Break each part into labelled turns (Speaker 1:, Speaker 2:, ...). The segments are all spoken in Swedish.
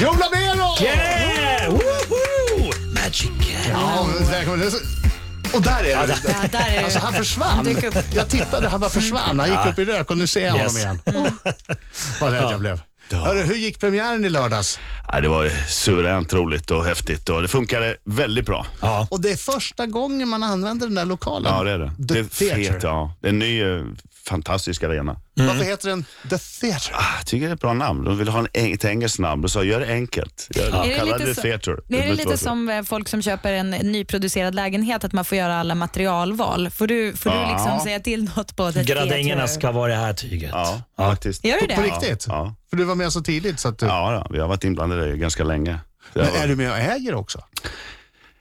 Speaker 1: Joe Labero!
Speaker 2: Yeah! Woho! Magic.
Speaker 1: Ja, men där kommer det. Och där är han.
Speaker 3: Ja, där är
Speaker 1: Alltså
Speaker 3: det.
Speaker 1: han försvann.
Speaker 3: Dök upp.
Speaker 1: Jag tittade, han bara försvann. Han gick upp i rök och nu ser jag
Speaker 2: Yes.
Speaker 1: honom igen. Vad rädd jag blev. Hörru, hur gick premiären i lördags?
Speaker 4: Ja, det var ju suveränt roligt och häftigt och det funkade väldigt bra.
Speaker 2: Ja.
Speaker 1: Och det är första gången man använder den där lokalen.
Speaker 4: Ja, det är det.
Speaker 1: The
Speaker 4: det är
Speaker 1: Theatre.
Speaker 4: fet, ja. Det är en ny eh, fantastisk arena.
Speaker 1: Varför heter den The Theatre?
Speaker 4: Ah, Jag tycker det är ett bra namn. De ville ha en, eng- ett engelskt namn och sa gör det enkelt. Gör det.
Speaker 3: Är det
Speaker 4: Kalla
Speaker 3: lite
Speaker 4: det
Speaker 3: så-
Speaker 4: Theatre.
Speaker 3: Det är
Speaker 4: behöver
Speaker 3: det
Speaker 4: inte vara
Speaker 3: lite
Speaker 4: så.
Speaker 3: som eh, folk som köper en nyproducerad lägenhet, att man får göra alla materialval. Får du, får du
Speaker 4: Ja.
Speaker 3: liksom säga till något på det?
Speaker 2: Gradängerna
Speaker 3: tror jag.
Speaker 2: ska vara i det här tyget.
Speaker 4: Ja, faktiskt.
Speaker 3: Gör du
Speaker 1: På
Speaker 3: det?
Speaker 1: riktigt?
Speaker 4: Ja.
Speaker 1: För du var med så tidigt så att du...
Speaker 4: Ja, då. vi har varit inblandade i ganska länge. Det
Speaker 1: Men
Speaker 4: har
Speaker 1: är du med och äger också?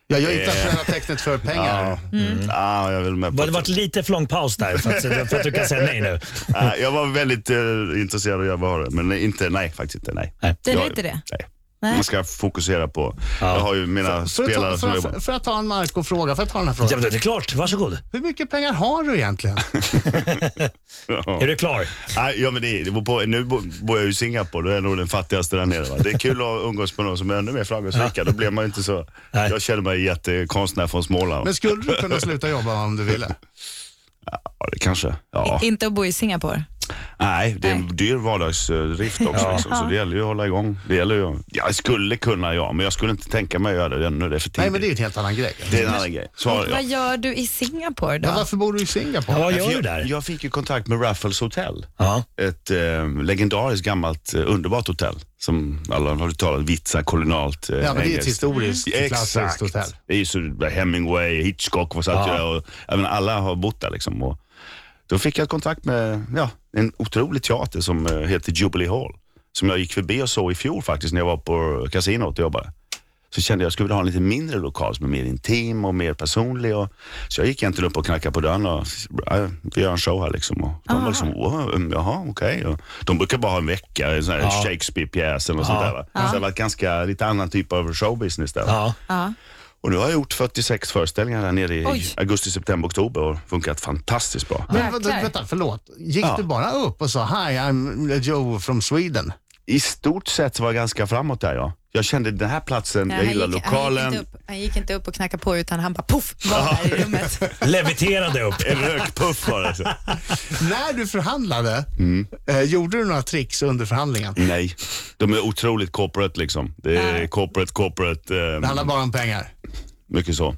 Speaker 1: Jag gör internationella tecknet för pengar.
Speaker 4: Ja, ja, Ah, jag, är väl med
Speaker 2: Det
Speaker 4: på
Speaker 2: har varit
Speaker 4: det.
Speaker 2: lite för lång paus där för att, för att du kan säga nej nu.
Speaker 4: Ja, jag var väldigt eh, intresserad av att göra det, men inte, nej, faktiskt inte, nej.
Speaker 2: Nej.
Speaker 3: Det är
Speaker 4: Jag-
Speaker 3: inte det?
Speaker 4: Nej.
Speaker 3: Nej.
Speaker 4: Man ska fokusera på,
Speaker 2: Ja.
Speaker 4: jag har ju mina
Speaker 1: För, att
Speaker 4: spelare
Speaker 1: ta,
Speaker 4: som
Speaker 1: för,
Speaker 4: jobbar.
Speaker 1: att, för att ta en Marco-fråga, för att ta den här
Speaker 2: Ja,
Speaker 1: frågan.
Speaker 2: men det är klart, varsågod.
Speaker 1: Hur mycket pengar har du egentligen?
Speaker 2: Är du klar?
Speaker 4: Nej, ja, men det, det beror på, nu bo- bor jag ju i Singapore, då är jag nog den fattigaste där nere. Va? Det är kul att umgås med någon som är ännu mer framgångsrika. Då blir man ju inte så...
Speaker 2: Nej.
Speaker 4: Jag känner mig jättekonstnär från Småland.
Speaker 1: Men skulle du kunna sluta jobba om du ville?
Speaker 4: Ja, det kanske. Ja.
Speaker 3: I- Inte att bo i Singapore?
Speaker 4: Nej, det är en
Speaker 3: Nej.
Speaker 4: dyr vardagsdrift också. Liksom, så det gäller ju att hålla igång. Det gäller ju, jag skulle kunna, ja, men jag skulle inte tänka mig att göra det ännu. Det är för tidigt.
Speaker 1: Nej, men det är ju en helt annan grej.
Speaker 4: Det är en annan grej. Svar, ja.
Speaker 3: Vad gör du i Singapore då?
Speaker 1: Ja, varför bor du i
Speaker 2: Ja,
Speaker 1: Singapore?
Speaker 2: vad gör du
Speaker 4: Jag,
Speaker 2: där?
Speaker 4: jag fick ju kontakt med Raffles Hotel.
Speaker 2: Ja.
Speaker 4: Ett eh, legendariskt gammalt eh, underbart hotell som alla har hört talat vitsa kolonialt eh,
Speaker 1: Ja, men det är ett
Speaker 4: engelskt. Mm.
Speaker 1: historiskt klassiskt
Speaker 4: Exakt.
Speaker 1: hotell.
Speaker 4: Det är ju så Hemingway, Hitchcock, vad satt
Speaker 2: Ja.
Speaker 4: ju där och, jag menar, alla har bott där liksom. Och då fick jag kontakt med ja, en otrolig teater som eh, heter Jubilee Hall. Som jag gick förbi och såg i fjol faktiskt när jag var på kasinot och jobbade. Så kände jag att jag skulle vilja ha en lite mindre lokal som är mer intim och mer personlig. Och, så jag gick egentligen upp och knackade på dörren och "Ja, vi gör en show här liksom. Och de
Speaker 3: Ah.
Speaker 4: var liksom, "Wow, mm, jaha okej. Och De brukar bara ha en vecka, en sån här Shakespeare-pjäs eller något sånt där. Va? Så det var ganska, lite annan typ av showbusiness där.
Speaker 2: Ja.
Speaker 3: Ja.
Speaker 4: Och nu har jag gjort 46 föreställningar där nere i
Speaker 3: Oj.
Speaker 4: augusti, september, oktober och funkat fantastiskt bra.
Speaker 1: Men vänta,
Speaker 3: Jäklar.
Speaker 1: vänta, förlåt. Gick
Speaker 4: Ja.
Speaker 1: du bara upp och sa Hi, I'm Joe from Sweden?
Speaker 4: I stort sett var jag ganska framåt där ja. Jag kände den här platsen, jag gillar
Speaker 3: Han
Speaker 4: lokalen.
Speaker 3: gick, inte upp, han gick inte upp och knackade på utan han bara poff, var där i rummet.
Speaker 2: Leviterade upp.
Speaker 4: En rökpuff var det. Alltså.
Speaker 1: När du förhandlade, eh, gjorde du några tricks under förhandlingen?
Speaker 4: Nej, de är otroligt corporate liksom. Det är corporate, corporate,
Speaker 1: Det
Speaker 4: eh,
Speaker 1: handlar bara om pengar.
Speaker 4: mycket så.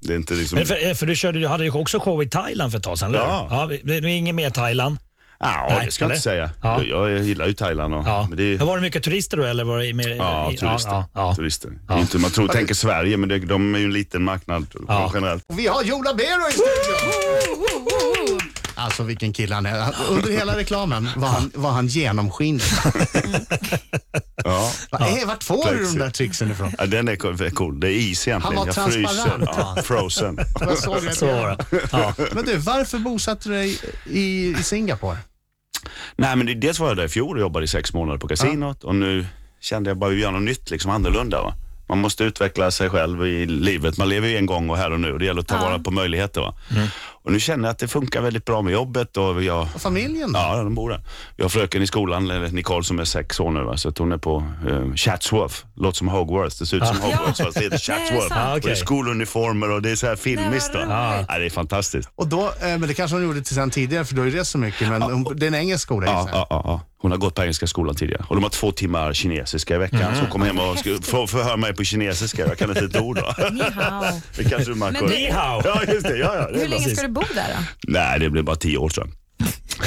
Speaker 4: Det är inte liksom...
Speaker 2: Mm. Men för, eh, för du, körde, du hade ju också show i Thailand för ett tag sedan, eller
Speaker 4: Ja.
Speaker 2: hur? ja vi- Det är inget mer Thailand.
Speaker 4: Ja,
Speaker 2: Nej,
Speaker 4: det ska jag
Speaker 2: eller?
Speaker 4: inte säga.
Speaker 2: Ja.
Speaker 4: Jag, jag gillar ju Thailand och...
Speaker 2: Ja.
Speaker 4: Men det är,
Speaker 2: Men var det mycket turister då? Eller var det mer,
Speaker 4: ja,
Speaker 2: i-
Speaker 4: turister.
Speaker 2: Ja, ja, ja.
Speaker 4: turister. Det är Inte, man tror, tänker Sverige, men det, de är ju en liten marknad
Speaker 2: Ja.
Speaker 4: generellt.
Speaker 1: Och vi har Joe Labero i studion! Alltså vilken kille han är. Han- Under hela reklamen var han, var han genomskinlig.
Speaker 4: Ja.
Speaker 1: Va, eh, vart får du de där tricksen ifrån?
Speaker 4: Ja, den är cool- är cool. Det är is egentligen.
Speaker 1: Han var
Speaker 4: Jag fryser.
Speaker 1: transparent, alltså. va?
Speaker 4: Ja, frozen.
Speaker 1: Jag såg det.
Speaker 2: Så var det. Ja.
Speaker 1: Men du, varför bosatte du dig i, i Singapore?
Speaker 4: Nej, men det- dels var jag där i fjol och jobbade i sex månader på kasinot och nu kände jag bara att göra något nytt, liksom annorlunda. Va? Man måste utveckla sig själv i livet. Man lever ju en gång och här och nu. Det gäller att ta vara på möjligheter. Va?
Speaker 3: Mm.
Speaker 4: Och nu känner jag att det funkar väldigt bra med jobbet och jag
Speaker 1: Och familjen?
Speaker 4: Ja, de bor där. Jag har fröken i skolan, eller Nicole som är sex år nu, va? så att hon är på eh, Chatsworth. Låter som Hogwarts, det ser ut som Hogwarts fast det heter
Speaker 3: Nej, det är
Speaker 4: Chatsworth.
Speaker 3: sant.
Speaker 2: Ah,
Speaker 4: Och det
Speaker 2: okej.
Speaker 4: är skoluniformer och det är så här filmiskt. va?
Speaker 3: Nej, vad
Speaker 4: Ja.
Speaker 3: roligt.
Speaker 4: det är fantastiskt.
Speaker 1: Och då, eh, men det kanske hon gjorde till sen tidigare för då är det så mycket. Men hon, det är en engelsk skola
Speaker 4: Ja,
Speaker 1: gissar jag.
Speaker 4: ja, ja, ja. Hon har gått på engelska skolan tidigare och de har två timmar kinesiska i veckan. Så hon kommer hem och ska, för, förhör mig på kinesiska. Jag kan inte ett ord. Då.
Speaker 3: Ni hao.
Speaker 4: Det kanske du märker.
Speaker 3: Men det-
Speaker 2: Ni hao.
Speaker 4: Ja, just det. Ja, ja, det är
Speaker 3: Hur
Speaker 4: bra.
Speaker 3: länge ska du bo där då?
Speaker 4: Nej, det blev bara tio år sedan.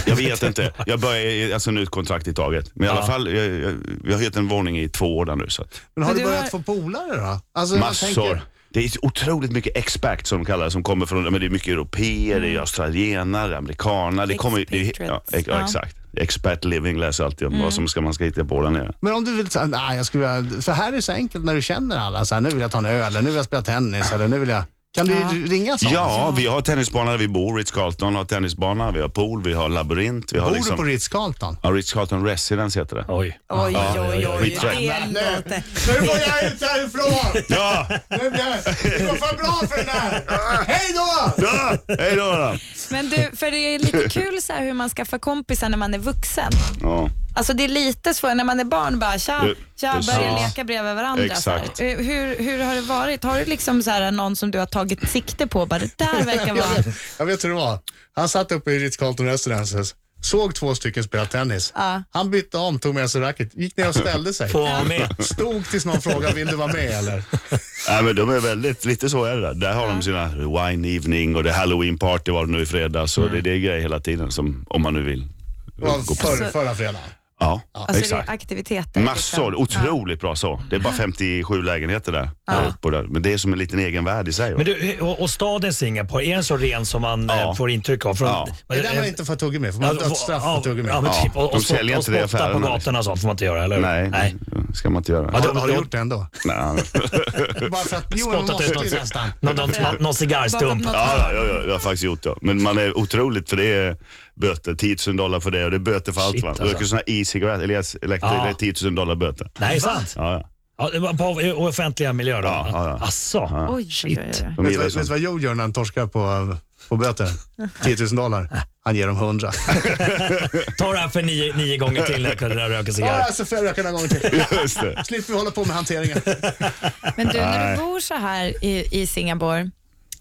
Speaker 4: Jag vet inte. Jag börjar, alltså nu är ett kontrakt i taget. Men i alla fall, jag, jag, jag har hyrt en våning i två år där nu. Så att.
Speaker 1: Men har
Speaker 3: Men
Speaker 1: du
Speaker 3: du
Speaker 1: börjat
Speaker 3: har-
Speaker 1: få polare då? Alltså, jag
Speaker 4: Massor.
Speaker 1: tänker-
Speaker 4: Det är så otroligt mycket expats som de kallar det, som kommer från, men det är mycket europeer, det är australienare, amerikaner. Det kommer, det, är- ja, ex, ja,
Speaker 3: Ja.
Speaker 4: exakt. Expat living läser alltid om vad som ska, man ska hitta på där nere.
Speaker 1: Men om du vill säga, nej jag skulle vilja, för här är det så enkelt när du känner alla. Så här, nu vill jag ta en öl, eller nu vill jag spela tennis, eller nu vill jag... Kan du ringa sånt?
Speaker 4: Ja, vi har tennisbana där vi bor. Ritz-Carlton har tennisbana, vi har pool, vi har labyrint. Vi har
Speaker 1: Bor
Speaker 4: liksom,
Speaker 1: du på Ritz-Carlton?
Speaker 4: Ja, Ritz-Carlton Residence heter det.
Speaker 2: Oj.
Speaker 3: Oj, oj, oj.
Speaker 4: skitbra.
Speaker 3: Det låter...
Speaker 1: Nu går jag ut härifrån!
Speaker 4: Ja!
Speaker 1: Nu blir jag- Det går för bra för den här! Hej då!
Speaker 4: ja! Hej då! då.
Speaker 3: Men du, för det är lite kul så här hur man skaffar kompisar när man är vuxen.
Speaker 4: Ja.
Speaker 3: Alltså det är lite svårt när man är barn bara tja,
Speaker 4: Du,
Speaker 3: tja
Speaker 4: precis.
Speaker 3: börjar
Speaker 4: Ja.
Speaker 3: leka bredvid varandra.
Speaker 4: Exakt.
Speaker 3: Så här. Eh, Hur, hur har det varit? Har du liksom så här någon som du har tagit sikte på? Bara, det där verkar vara...
Speaker 1: Jag vet hur det var. Han satt uppe i Ritz-Carlton Residences, såg två stycken spela tennis.
Speaker 3: Ja.
Speaker 1: Han bytte om, tog med sig racket, gick ner och ställde sig.
Speaker 2: Får vara med.
Speaker 1: Stod tills någon frågade, vill du vara med eller?
Speaker 4: Nej, men de är väldigt, lite så är det där. Där har de sina wine evening och det är halloween party var det nu i fredags. Så det, det är grejer hela tiden som, om man nu vill.
Speaker 1: Det var
Speaker 4: gå på.
Speaker 1: förr, förra fredagen.
Speaker 4: Ja,
Speaker 3: Alltså det
Speaker 4: exakt.
Speaker 3: är aktiviteter.
Speaker 4: Massor,
Speaker 3: liksom.
Speaker 4: otroligt bra så. Det är bara 57 lägenheter där. eh, På det. Men det är som en liten egen värld i sig. va?
Speaker 2: Men du, och, och staden Singapore, är den så ren som man
Speaker 4: Ja.
Speaker 2: eh, får intryck av? Från,
Speaker 4: Ja.
Speaker 1: Det där man inte får tugga med, för man har dödsstraff för
Speaker 2: ja,
Speaker 1: tugga
Speaker 2: ja,
Speaker 1: med.
Speaker 2: men
Speaker 4: Ja,
Speaker 2: typ, och,
Speaker 4: de
Speaker 2: och, spott-
Speaker 4: säljer
Speaker 2: och
Speaker 4: inte det i
Speaker 2: spotta på
Speaker 4: affärerna,
Speaker 2: gatorna och sånt får man inte göra, eller hur?
Speaker 4: Nej,
Speaker 2: Nej.
Speaker 4: det ska man inte göra.
Speaker 2: Ja,
Speaker 1: Har, har du gjort det ändå?
Speaker 4: Nej.
Speaker 1: Bara för att, jo, man
Speaker 2: Spottat
Speaker 1: måste
Speaker 2: ut
Speaker 1: ju nästan.
Speaker 2: någon, någon, någon, någon
Speaker 3: Bakom
Speaker 2: cigarrstump.
Speaker 3: något
Speaker 4: Ja, ja, ja, ja, jag har faktiskt gjort det. Men man är otroligt för det är böter. 10 000 dollar för det och det är böter för allt.
Speaker 2: Shit,
Speaker 4: va?
Speaker 2: alltså.
Speaker 4: Röker sådana e-cigaretter, eller yes, elektro,
Speaker 2: Ja.
Speaker 4: det är 10 000 dollar böter.
Speaker 2: Nej, sant?
Speaker 4: Ja, ja.
Speaker 2: Ja, det var på i offentliga miljöer? då?
Speaker 4: Ja, ja, ja.
Speaker 2: Asså?
Speaker 3: Oj,
Speaker 2: Shit.
Speaker 3: oj, oj, oj.
Speaker 4: De
Speaker 1: Vet du
Speaker 4: gillar
Speaker 1: vad-
Speaker 4: ju
Speaker 1: vet du
Speaker 4: sånt.
Speaker 1: vad Joe gör när han torskar på, på böter? 10 000 dollar. Han ger dem 100.
Speaker 2: Ta det här för nio, nio gånger till när jag röker
Speaker 1: Ja,
Speaker 2: cigarr.
Speaker 1: alltså får jag röka några gånger till.
Speaker 4: Just det.
Speaker 1: Slipper vi hålla på med hanteringen.
Speaker 3: Men du, när du bor så här i, i Singapore,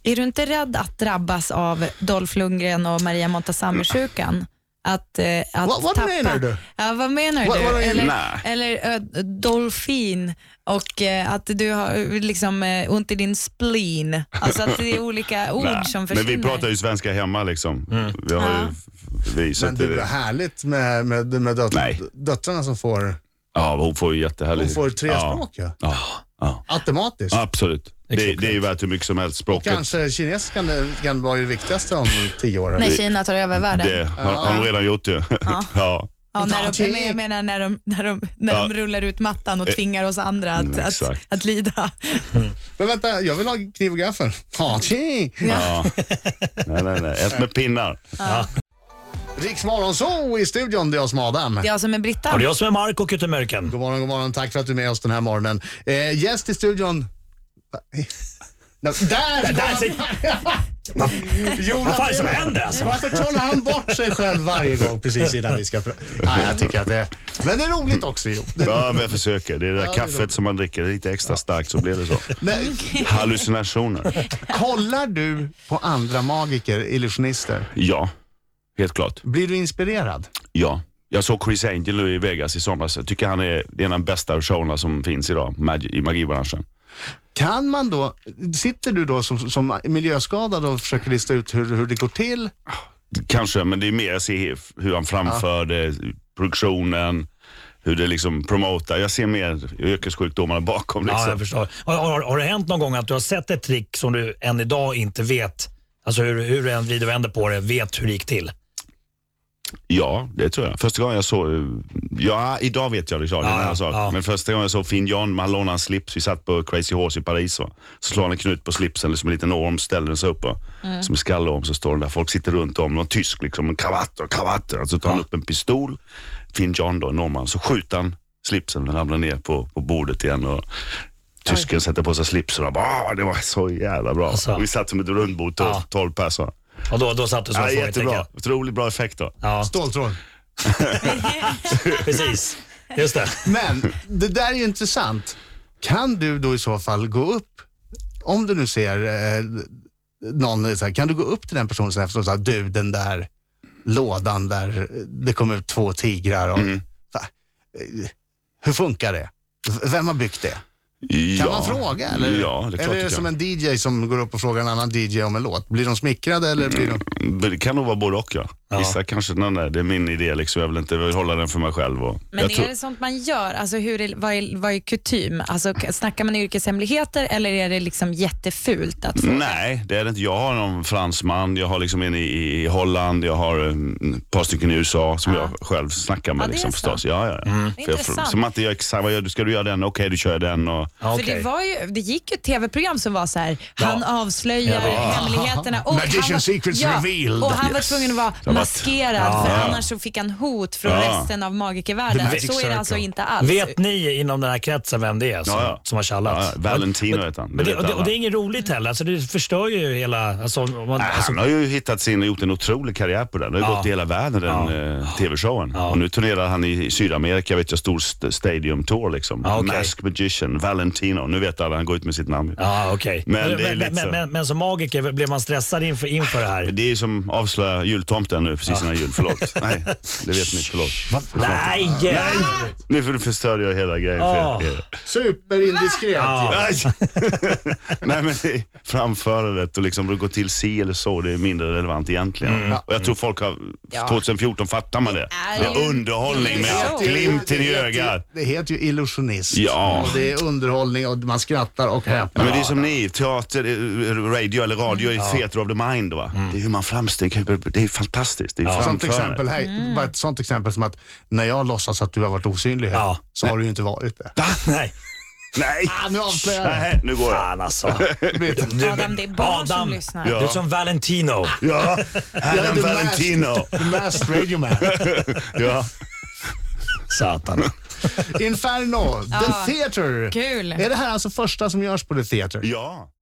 Speaker 3: är du inte rädd att drabbas av Dolph Lundgren och Maria Montazami-sjukan? Att, eh, att
Speaker 1: Vad- vad
Speaker 3: tappa.
Speaker 1: menar du?
Speaker 3: Ja, vad menar
Speaker 1: Vad-
Speaker 3: du?
Speaker 1: vad menar du?
Speaker 4: Nej.
Speaker 3: eller eller eh, dolfin och eh, att du har eh, liksom, eh, ont i din spleen. Alltså att det är olika ord
Speaker 4: Nej.
Speaker 3: som
Speaker 4: Men
Speaker 3: försvinner.
Speaker 4: vi pratar ju svenska hemma liksom. Vi har ju
Speaker 3: Ja.
Speaker 4: vi, så
Speaker 1: Men
Speaker 4: att
Speaker 1: det är väl
Speaker 4: det,
Speaker 1: härligt med, med, med döt-
Speaker 4: Nej.
Speaker 1: döttrarna som får,
Speaker 4: ja, hon får ju jättehärligt.
Speaker 1: de får tre
Speaker 4: ja.
Speaker 1: språk. Ja.
Speaker 4: Ja, ja.
Speaker 1: Automatiskt.
Speaker 4: Absolut. Det, det är ju värt hur mycket som helst. Språket
Speaker 1: Kanske kinesiskan är- kan vara det viktigaste om tio år.
Speaker 3: När Kina tar över världen.
Speaker 4: Det har har de redan gjort ju. Ja.
Speaker 3: Ja, när de, men jag menar när de, när de, när de rullar ut mattan och tvingar oss andra att,
Speaker 4: Eh, Mm,
Speaker 3: att,
Speaker 4: exakt.
Speaker 3: att lida.
Speaker 1: Men vänta, jag vill ha kniv och gaffel. Ja, tji!
Speaker 4: Ja. Nej, nej, nej. Ett med pinnar.
Speaker 1: Riks Morgonzoo i studion, det är jag som är Adam.
Speaker 3: Jag som är alltså Britta.
Speaker 2: Och det är jag som är Marco Kuttemörken.
Speaker 1: God morgon, god morgon. Tack för att du är med oss den här morgonen. Eh, gäst i studion... Där! Där!
Speaker 2: Där sitter- Vad
Speaker 1: Jonas
Speaker 2: fan är det som händer alltså?
Speaker 1: Varför trollar han bort sig själv varje gång precis innan vi ska prata? Nej, jag tycker att det... Men det är roligt också, jo.
Speaker 4: Ja, men jag försöker. Det är det där kaffet som man dricker det är lite extra starkt så blir det så.
Speaker 1: Men,
Speaker 4: Hallucinationer.
Speaker 1: kollar du på andra magiker, illusionister?
Speaker 4: Ja, helt klart.
Speaker 1: Blir du inspirerad?
Speaker 4: Ja. Jag såg Chris Angel nu i Vegas i somras. Jag tycker han är det är en av de bästa showerna som finns idag mag- i magibranschen.
Speaker 1: Kan man då, sitter du då som, som miljöskadad och försöker lista ut hur, hur det går till?
Speaker 4: Kanske, men det är mer jag ser hur han framför det, produktionen, hur det liksom promotar. Jag ser mer yrkessjukdomarna bakom.
Speaker 2: Ja, jag
Speaker 4: Liksom.
Speaker 2: förstår. Har, har, har det hänt någon gång att du har sett ett trick som du än idag inte vet, alltså hur, hur du än vrider och vänder på det, vet hur det gick till?
Speaker 4: Ja, det tror jag. Första gången jag såg, eh, ja idag vet jag det klart,
Speaker 2: Ja,
Speaker 4: ja,
Speaker 2: ja,
Speaker 4: ja, sak.
Speaker 2: ja.
Speaker 4: men första gången jag såg Finn John, man lånade en slips, vi satt på Crazy Horse i Paris. Va? Så slår han en knut på slipsen, liksom en liten orm, ställer den sig upp. Va?
Speaker 2: Mm.
Speaker 4: Som en skallorm så står den där, folk sitter runt om, någon tysk liksom, en kravatt och kravatter. Så tar han upp en pistol, Finn John då, en norrman, så skjuter han slipsen, den ramlar ner på, på bordet igen. Och, Tysken sätter på sig slipsen och bara, "Ah, det var så jävla bra.
Speaker 2: Alltså.
Speaker 4: Och vi satt som ett rundbord,
Speaker 2: Ja.
Speaker 4: 12 tolv pers. va?
Speaker 2: Och då, då satt du som
Speaker 4: Ja,
Speaker 2: ett
Speaker 4: jättebra,
Speaker 2: frågetecken.
Speaker 4: otroligt bra effekt då.
Speaker 2: Ja,
Speaker 1: Ståltråd.
Speaker 2: precis. Just det.
Speaker 1: Men det där är ju intressant. Kan du då i så fall gå upp, om du nu ser eh, någon, så här, kan du gå upp till den personen sen efter och säga, du den där lådan där eh, det kom ut två tigrar och,
Speaker 4: Mm.
Speaker 1: Va? Eh, hur funkar det? V- Vem har byggt det? Kan man fråga? Eller,
Speaker 4: Ja, det är
Speaker 1: eller
Speaker 4: klart
Speaker 1: är det
Speaker 4: du kan.
Speaker 1: som en DJ som går upp och frågar en annan DJ om en låt? Blir de smickrade eller blir de...
Speaker 4: Men Det kan nog vara både och ja.
Speaker 2: Ja.
Speaker 4: Vissa kanske, nej, nej, det är min idé liksom. Jag vill inte jag vill hålla den för mig själv. Och
Speaker 3: Men
Speaker 4: jag
Speaker 3: är
Speaker 4: tror-
Speaker 3: det sånt man gör? Alltså hur är, vad, är, vad är kutym? Alltså, k- snackar man yrkeshemligheter eller är det liksom jättefult? Att få?
Speaker 4: Nej, det är det inte. Jag har någon fransman, jag har liksom en i, i Holland, jag har mm, ett par stycken i USA som jag själv snackar med.
Speaker 3: Ja, det är
Speaker 4: liksom,
Speaker 3: så.
Speaker 4: förstås. Ja, ja, ja.
Speaker 2: Mm.
Speaker 4: För jag,
Speaker 3: Intressant.
Speaker 4: som att jag exakt, vad gör du? Ska du göra den? Okej, du kör den. Och,
Speaker 2: Ja,
Speaker 3: För det,
Speaker 2: okej.
Speaker 3: var ju, det gick ju ett tv-program som var så här, han avslöjar
Speaker 2: Ja.
Speaker 3: hemligheterna. Och
Speaker 1: Magician
Speaker 3: han var,
Speaker 1: Secrets Revealed.
Speaker 3: Och han var
Speaker 4: Yes.
Speaker 3: tvungen att vara
Speaker 4: Jag bara,
Speaker 3: maskerad,
Speaker 2: Ja.
Speaker 3: för annars så fick han hot från
Speaker 4: Ja.
Speaker 3: resten av magikervärlden.
Speaker 1: The Magic
Speaker 3: Så är
Speaker 1: Circle.
Speaker 3: det alltså inte alls.
Speaker 2: Vet ni inom den här kretsen vem det är som,
Speaker 4: Ja, ja.
Speaker 2: som har tjallat?
Speaker 4: Ja, ja. Valentino heter han. Det
Speaker 2: Men det,
Speaker 4: vet
Speaker 2: och, det, och
Speaker 4: alla.
Speaker 2: det är inget roligt heller. Alltså, det förstör ju hela... Alltså, om man,
Speaker 4: Nej,
Speaker 2: alltså,
Speaker 4: han har ju hittat sin och gjort en otrolig karriär på den. Det har
Speaker 2: Ja.
Speaker 4: gått i hela världen den eh, tv-showen. Och nu turnerar han i Sydamerika, vet jag, stor st- stadium tour liksom.
Speaker 2: Ja, okej.
Speaker 4: Mask Magician, Valentino. Nu vet alla, han går ut med sitt namn.
Speaker 2: ja, okej.
Speaker 4: Men det är
Speaker 2: men,
Speaker 4: lite
Speaker 2: men,
Speaker 4: så.
Speaker 2: men, men som magiker, blev man stressad inför, inför det här?
Speaker 4: Det är ju som avslöja jultomten nu precis innan jul. Förlåt. Nej, det vet ni inte. Förlåt.
Speaker 2: Nej! Nej.
Speaker 4: Nu för- förstörde jag hela grejen
Speaker 2: Ah.
Speaker 4: för er.
Speaker 1: Superindiskret.
Speaker 2: Ja.
Speaker 4: Nej. Nej men det är framförandet och liksom det går till si eller så, det är mindre relevant egentligen. Och jag tror folk har, 2014 fattar man det.
Speaker 3: är
Speaker 4: Det
Speaker 3: ju-
Speaker 4: är underhållning
Speaker 3: det är
Speaker 4: med
Speaker 3: ju-
Speaker 4: glimten i
Speaker 1: Det heter ju-
Speaker 4: ögat.
Speaker 1: Det heter ju illusionist.
Speaker 4: Ja.
Speaker 1: Och det är underhållning och man skrattar och häpnar.
Speaker 4: Men det är som ni, teater, eh, radio eller radio är theater of the mind va. Det är hur man framställer, det är fantastiskt. Det är
Speaker 1: Sånt
Speaker 4: framförandet.
Speaker 1: exempel, här, bara ett sånt exempel som att när jag låtsas att du har varit osynlig här,
Speaker 2: Ja.
Speaker 1: så har du ju inte varit det.
Speaker 2: Nej.
Speaker 4: Nej!
Speaker 1: Ah, nu avslöjar jag
Speaker 4: Nej, nu går jag.
Speaker 2: Fan alltså.
Speaker 1: det.
Speaker 3: Adam, det är barn som lyssnar.
Speaker 2: Du är som Valentino.
Speaker 4: Ja, här
Speaker 1: Jag
Speaker 4: är
Speaker 1: är the
Speaker 4: Valentino.
Speaker 1: The Masked Radio Man.
Speaker 4: Ja.
Speaker 2: Satan.
Speaker 1: Inferno, The Theater.
Speaker 3: Kul.
Speaker 1: Är det här alltså första som görs på The Theater?
Speaker 4: ja.